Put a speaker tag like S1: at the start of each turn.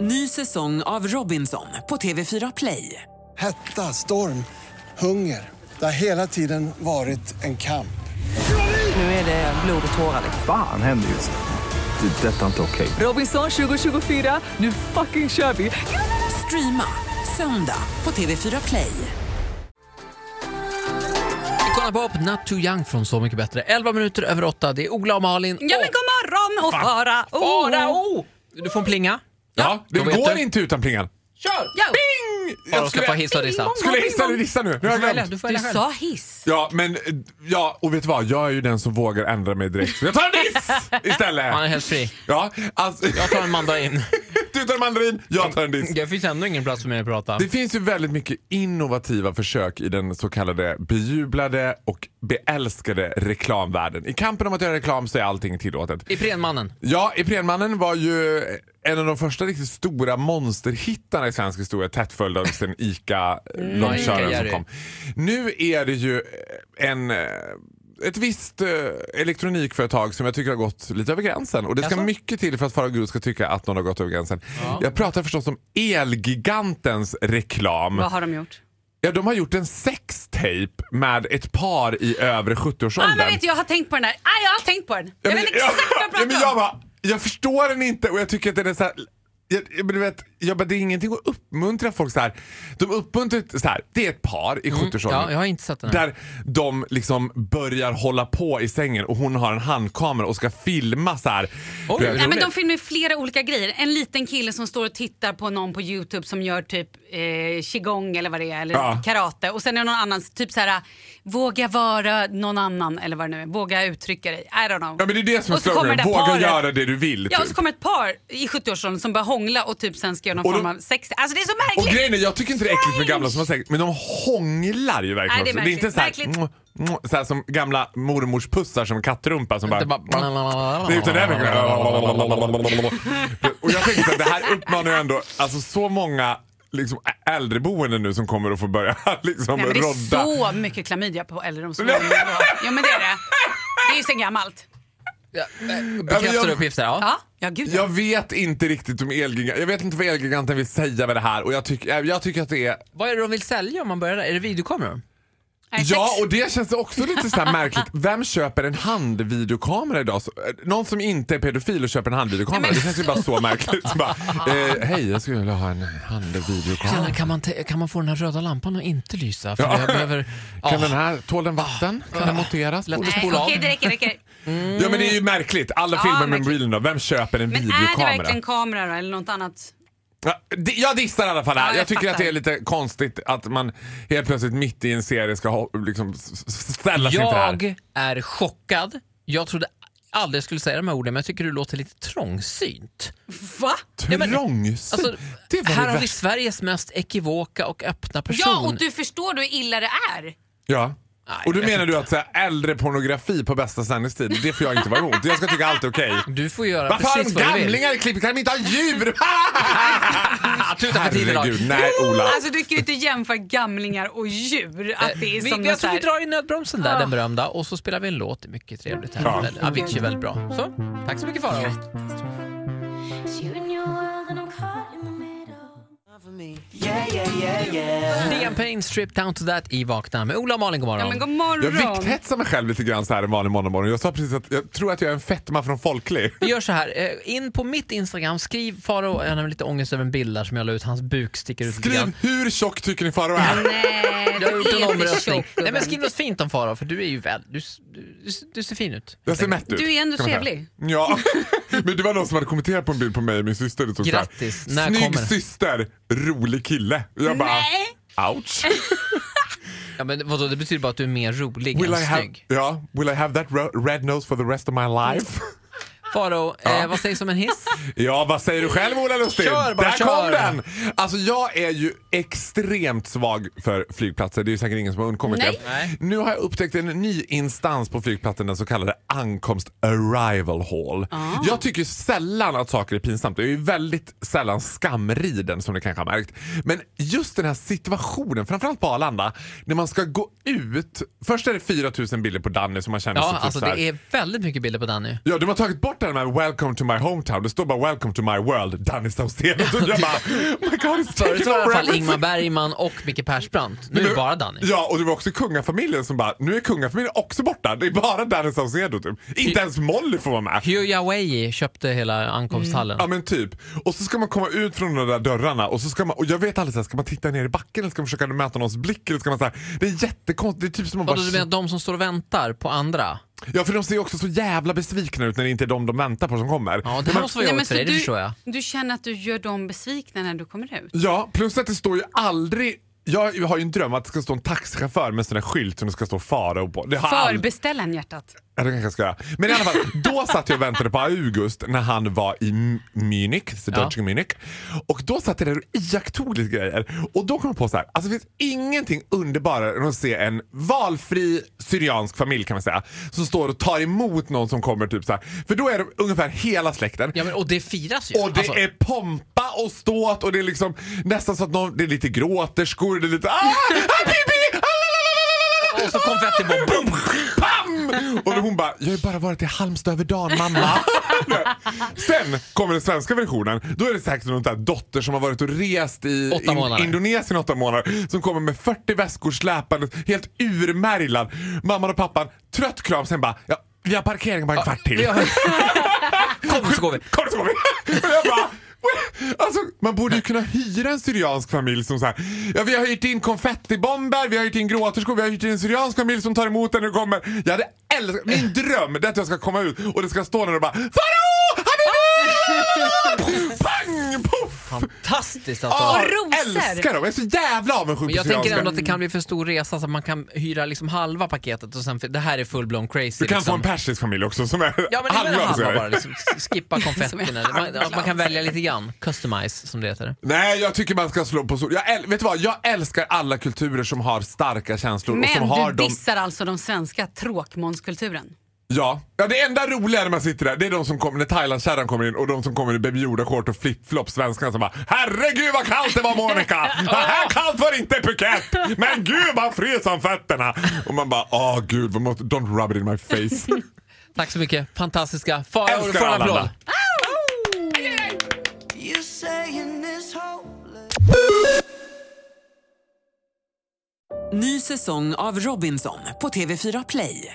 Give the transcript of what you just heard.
S1: Ny säsong av Robinson på TV4 Play.
S2: Hetta, storm, hunger. Det har hela tiden varit en kamp.
S1: Nu är det blod och tårar. liksom.
S3: Fan händer just nu. Det. är Detta är inte okej.
S1: Robinson 2024, nu fucking kör vi! Streama söndag på TV4 Play.
S4: Icona Pop, Not Too Young från Så Mycket Bättre. 11 minuter över 8, det är Ola och Malin.
S5: Ja men god morgon och fara! Oh.
S4: oh. Du får en plinga.
S6: Ja,
S4: då
S6: den
S4: vet
S6: går
S4: du.
S6: inte utan plingan.
S5: Ja.
S4: Jag ska få hissa och dissa.
S6: Skulle jag hissa eller dissa nu? Nu har
S4: Du får
S6: jag
S4: välja,
S6: glömt.
S4: du får
S5: Du
S4: välja själv.
S5: sa hiss.
S6: Ja, men eh, ja, och vet du vad? Jag är ju den som vågar ändra mig direkt. Så Jag tar en diss
S4: Han är
S6: istället!
S4: helt fri.
S6: Ja, alltså,
S4: Jag tar en mandarin.
S6: du tar en mandarin, jag tar en diss.
S4: Det finns ändå ingen plats för mig att prata.
S6: Det finns ju väldigt mycket innovativa försök i den så kallade bejublade och beälskade reklamvärlden. I kampen om att göra reklam så är allting tillåtet.
S4: Iprenmannen.
S6: Ja, Iprenmannen var ju en av de första riktigt stora monsterhittarna i svensk historia tätt följd av den
S5: Mm.
S6: ICA-långköraren som
S4: Ica-Jerry.
S6: kom. Nu är det ju en... eh, Ett visst eh, elektronikföretag som jag tycker har gått lite över gränsen. Och det ska
S4: Jaså?
S6: mycket till för att Farao Gud ska tycka att någon har gått över gränsen. Jag pratar förstås om Elgigantens reklam.
S5: Vad har de gjort?
S6: Ja, de har gjort en sextape med ett par i övre 70-årsåldern.
S5: Ah, men vet, du, jag har tänkt på den där. Ah, jag har tänkt på den. Jag
S6: men-
S5: vet exakt vad jag
S6: ja, men
S5: pratar
S6: jag,
S5: om.
S6: bara, jag förstår den inte och jag tycker att den är så här... Jag, jag, men du vet, jag bara, det är ingenting att uppmuntra folk så här. De uppmuntrar så här, det är ett par i 70-årsåldern.
S4: Mm, Ja, jag har inte sett den. här.
S6: Där de liksom börjar hålla på i sängen och hon har en handkamera och ska filma så här.
S4: Oj,
S6: Du vet,
S4: roligt.
S5: Nej, men de filmar ju flera olika grejer. En liten kille som står och tittar på någon på Youtube som gör typ eh, qigong eller vad det är, eller
S6: Ja.
S5: karate. Och sen är det någon annan, typ så här, våga vara någon annan eller vad det nu är. Våga uttrycka dig. I don't know.
S6: Ja men det är det som är
S5: Och så
S6: sloganen,
S5: kommer det där
S6: våga
S5: paret.
S6: göra det du vill.
S5: Ja, och
S6: typ.
S5: så kommer ett par i 70-årsåldern som börjar hångla och typ sen ska göra någon
S6: Och de-
S5: form av sex. Alltså det är så
S6: Och
S5: märkligt!
S6: grejen är, jag tycker inte det är äckligt med gamla som har sex, men de hånglar ju verkligen
S5: Nej, det är
S6: också. Det är inte så här,
S5: märkligt.
S6: mm, mm, så här som gamla mormors pussar som kattrumpa som bara... mm.
S4: Det bara-
S6: Det är inte det verkligen. Och jag tänker så här, det här uppmanar ju ändå alltså, så många liksom, ä- äldreboenden nu som kommer att få börja liksom,
S5: Nej, men det är
S6: rodda.
S5: så mycket klamydia på äldreomsorgen.
S6: Nej.
S5: ja men det är det. Det är ju sen gammalt.
S4: Ja, eh,
S6: Ja, men
S4: Bekräftade
S6: jag-
S4: uppgifter, ja.
S5: Ja, ja gud ja.
S6: Jag vet inte riktigt om Elgiganten, jag vet inte vad Elgiganten vill säga med det här och jag, tyck, jag, jag tycker att det är
S4: Vad är det de vill sälja om man börjar där? Är det videokameror?
S5: Nej,
S6: Ja,
S5: sex.
S6: och det känns också lite så här märkligt. Vem köper en handvideokamera idag? Så, eh, någon som inte är pedofil och köper en handvideokamera.
S5: Nej, men-
S6: Det känns ju bara så märkligt. Så bara, eh, Hej, jag skulle vilja ha en handvideokamera.
S4: Kan man, te- kan man få den här röda lampan att inte lysa? För
S6: Ja.
S4: jag behöver...
S6: Kan
S4: Ja.
S6: den här, tål den vatten? Kan den monteras?
S4: Lätt att
S5: Nej,
S4: spola av.
S5: okej det räcker, det räcker.
S6: Ja men det är ju märkligt. Alla
S5: Ja,
S6: filmer med
S5: märkligt.
S6: mobilen då. Vem köper en
S5: Men är det
S6: videokamera?
S5: verkligen kamera då, eller något annat?
S6: Ja, di- Jag dissar i alla fall
S5: Ja,
S6: här.
S5: jag
S6: Jag tycker att
S5: fattar.
S6: det är lite konstigt att man helt plötsligt mitt i en serie ska ha, liksom, s- s- ställa sig inför Alltså, det här.
S4: Jag är chockad. Jag trodde aldrig jag skulle säga de här orden, men jag tycker du låter lite trångsynt.
S5: Va?
S4: Ja, men-
S6: Trångsynt.
S4: Alltså,
S6: det var
S4: här
S6: det
S4: har vi
S6: värsta.
S4: Sveriges mest ekivoka och öppna person.
S5: Ja, och du förstår då hur illa det är.
S6: Ja.
S4: Nej,
S6: och då
S4: jag vet
S6: menar du att så här, äldre pornografi på bästa sändningstid, det får jag inte vara emot. Jag ska tycka allt är okej.
S4: Du får göra
S6: Vad fan,
S4: precis vad du vill.
S6: gamlingar i klippet kan de inte ha djur?
S4: Ah, tuta för tider,
S6: Herregud,
S4: Lars.
S6: nej Ola.
S5: Alltså du kan ju inte jämföra gamlingar och djur. Att det
S4: Vi,
S5: är som
S4: vi,
S5: något
S4: jag
S5: så
S4: tror vi
S5: här...
S4: drar i nödbromsen där, den berömda, och så spelar vi en låt. Det är mycket trevligt här.
S6: Ah. Ja.
S4: Men Avicii är väldigt bra. Så, tack så mycket Farao. Liam Payne, Strip Down To That i Vakna med Ola och Malin. God morgon.
S5: Ja men god
S6: Jag
S5: morgon.
S6: vikthetsar mig själv lite grann så här en vanlig måndagmorgon. Jag sa precis att jag tror att jag är en fetma från Folklig.
S4: Vi gör så här, eh, in på mitt Instagram, skriv Faro, jag har lite ångest över en bild där som jag la ut, hans buk sticker ut lite grann.
S6: Skriv hur tjock tycker ni Farao är?
S5: Nej,
S4: Jag har
S5: du
S4: gjort
S5: är
S4: en omröstning.
S5: tjock,
S4: Nej men
S5: gubben.
S4: skriv något fint om Faro för du är ju väl, du, du, du ser fin ut.
S6: Jag ser mätt ut.
S5: Du är ändå
S6: kan man säga.
S5: trevlig.
S6: Ja, men det var någon som hade kommenterat på en bild på mig och min syster. Det stod så här,
S4: Grattis, när
S6: Snygg
S4: kommer det?"
S6: syster, rolig kille. Jag bara,
S5: Nej.
S6: ouch.
S4: Ja men vadå, det betyder bara att du är mer rolig
S6: Will I,
S4: än
S6: have,
S4: snygg.
S6: ja, will I have that ro- red nose for the rest of my life?
S4: Faro, eh, vad sägs om en hiss?
S6: Ja, vad säger du själv Ola Lustig?
S4: Kör bara,
S6: Där kom
S4: kör.
S6: den! Alltså jag är ju extremt svag för flygplatser. Det är ju säkert ingen som har undkommit
S5: Nej.
S6: det. Nu har jag upptäckt en ny instans på flygplatsen, den så kallade ankomst arrival hall. Jag tycker sällan att saker är pinsamt. Jag är ju väldigt sällan skamriden som ni kanske har märkt. Men just den här situationen, framförallt på Arlanda, när man ska gå ut. Först är det 4000 bilder på Danny som man känner
S4: Ja,
S6: sig typ
S4: alltså
S6: så här- Typ
S4: det är väldigt mycket bilder på Danny.
S6: Ja, de har tagit bort bort det här med “Welcome to my hometown”. Det står bara “Welcome to my world”, Danny Saucedo. Och jag bara “My God,
S4: Förut
S6: it's taken
S4: var det i alla
S6: over
S4: fall
S6: everything."
S4: Ingmar Bergman och Micke Persbrandt. Nu är det bara Danny.
S6: Ja, och det var också kungafamiljen som bara, nu är kungafamiljen också borta. Det är bara Danny Saucedo typ. Inte ens Molly får vara med.
S4: Hugh Yawei köpte hela ankomsthallen.
S6: Ja men typ. Och så ska man komma ut från de där dörrarna och så ska man, och jag vet aldrig, så här, ska man titta ner i backen eller ska man försöka möta någons blick? Eller ska man så här, det är jättekonstigt. Det är typ som man bara,
S4: Vadå, du menar de som står och väntar på andra?
S6: Ja för de ser ju också så jävla besvikna ut när det inte är de de väntar på som kommer.
S4: Ja, det här måste vara
S5: Nej,
S4: jobbigt
S5: men
S4: för dig,
S5: så
S4: det förstår jag.
S5: du, du känner att du gör dem besvikna när du kommer ut?
S6: Ja, plus att det står ju aldrig jag har ju en dröm att det ska stå en taxichaufför med en sån där skylt som det ska stå Farao på. Det har aldrig-
S5: Förbeställaren hjärtat.
S6: Ja, det kanske jag ska göra. Men i alla fall, då satt jag och väntade på August när han var i M- Munich, Süddeutschen Munich. Och då satt jag där och iakttog lite grejer. Och då kom jag på så här, alltså det finns ingenting underbarare än att se en valfri syriansk familj kan man säga, som står och tar emot någon som kommer typ så här. För då är de ungefär hela släkten.
S4: Ja, men, och det firas ju.
S6: Och det
S4: Alltså,
S6: är pompa och ståt och det är liksom nästan så att någon, det är lite gråterskor, det är lite ah, ah, pipi, ah, la, la, la, la, la, la, la, la."
S4: Och så konfettibomb.
S6: Boom, Pam! Och då hon bara, jag har ju bara varit i Halmstad över dagen mamma. Sen kommer den svenska versionen. Då är det säkert någon där dotter som har varit och rest i
S4: Åtta månader.
S6: Indonesien åtta månader. Som kommer med 40 väskor släpande, helt urmärglad. Mamman och pappan, trött kram, sen bara, ja, vi har parkering bara en kvart till.
S4: Ja. Kom så går vi.
S6: Kom så går vi! Och jag bara, "What?" Alltså, man borde ju kunna hyra en syriansk familj som så här, ja, vi har hyrt in konfettibomber, vi har hyrt in gråterskor, vi har hyrt in en syriansk familj som tar emot den och kommer. Jag hade älskat, min dröm det är att jag ska komma ut och det ska stå där och bara Farao! Habibi! Pang! Poff!
S4: Fantastiskt alltså. att
S6: Ja,
S4: ha.
S5: Och rosor.
S6: älskar dem! Jag är så jävla avundsjuk
S4: Men
S6: på
S4: jag tänker ändå
S6: syrianska.
S4: att det kan bli för stor resa så man kan hyra liksom halva paketet och sen, det här är full-blown crazy.
S6: Du kan få
S4: liksom.
S6: en persisk familj också som är
S4: Ja men det är väl
S6: halva
S4: halva
S6: syrier.
S4: bara, liksom, skippa konfettin. eller- Man, ja, man kan välja lite grann, customize som det heter.
S6: Nej, jag tycker man ska slå på sol. Jag äl- vet du vad? Jag älskar alla kulturer som har starka känslor och som
S5: Men
S6: har
S5: du
S6: dem.
S5: dissar alltså den svenska tråkmånskulturen?
S6: Ja. ja, det enda roliga när man sitter där det är de som kommer när Thailandskärran kommer in och de som kommer i Baby Yoda-short och flipflops, svenskarna som bara “Herregud vad kallt det var Monica! Det här kallt var inte Phuket! Men gud man frös om fötterna!” Och man bara “Åh gud, vad måste- don't rub it in my face”.
S4: Tack så mycket, fantastiska. Farao, du
S6: Älskar
S4: får en
S6: alla.
S4: applåd.
S1: Ny säsong av Robinson på TV4 Play.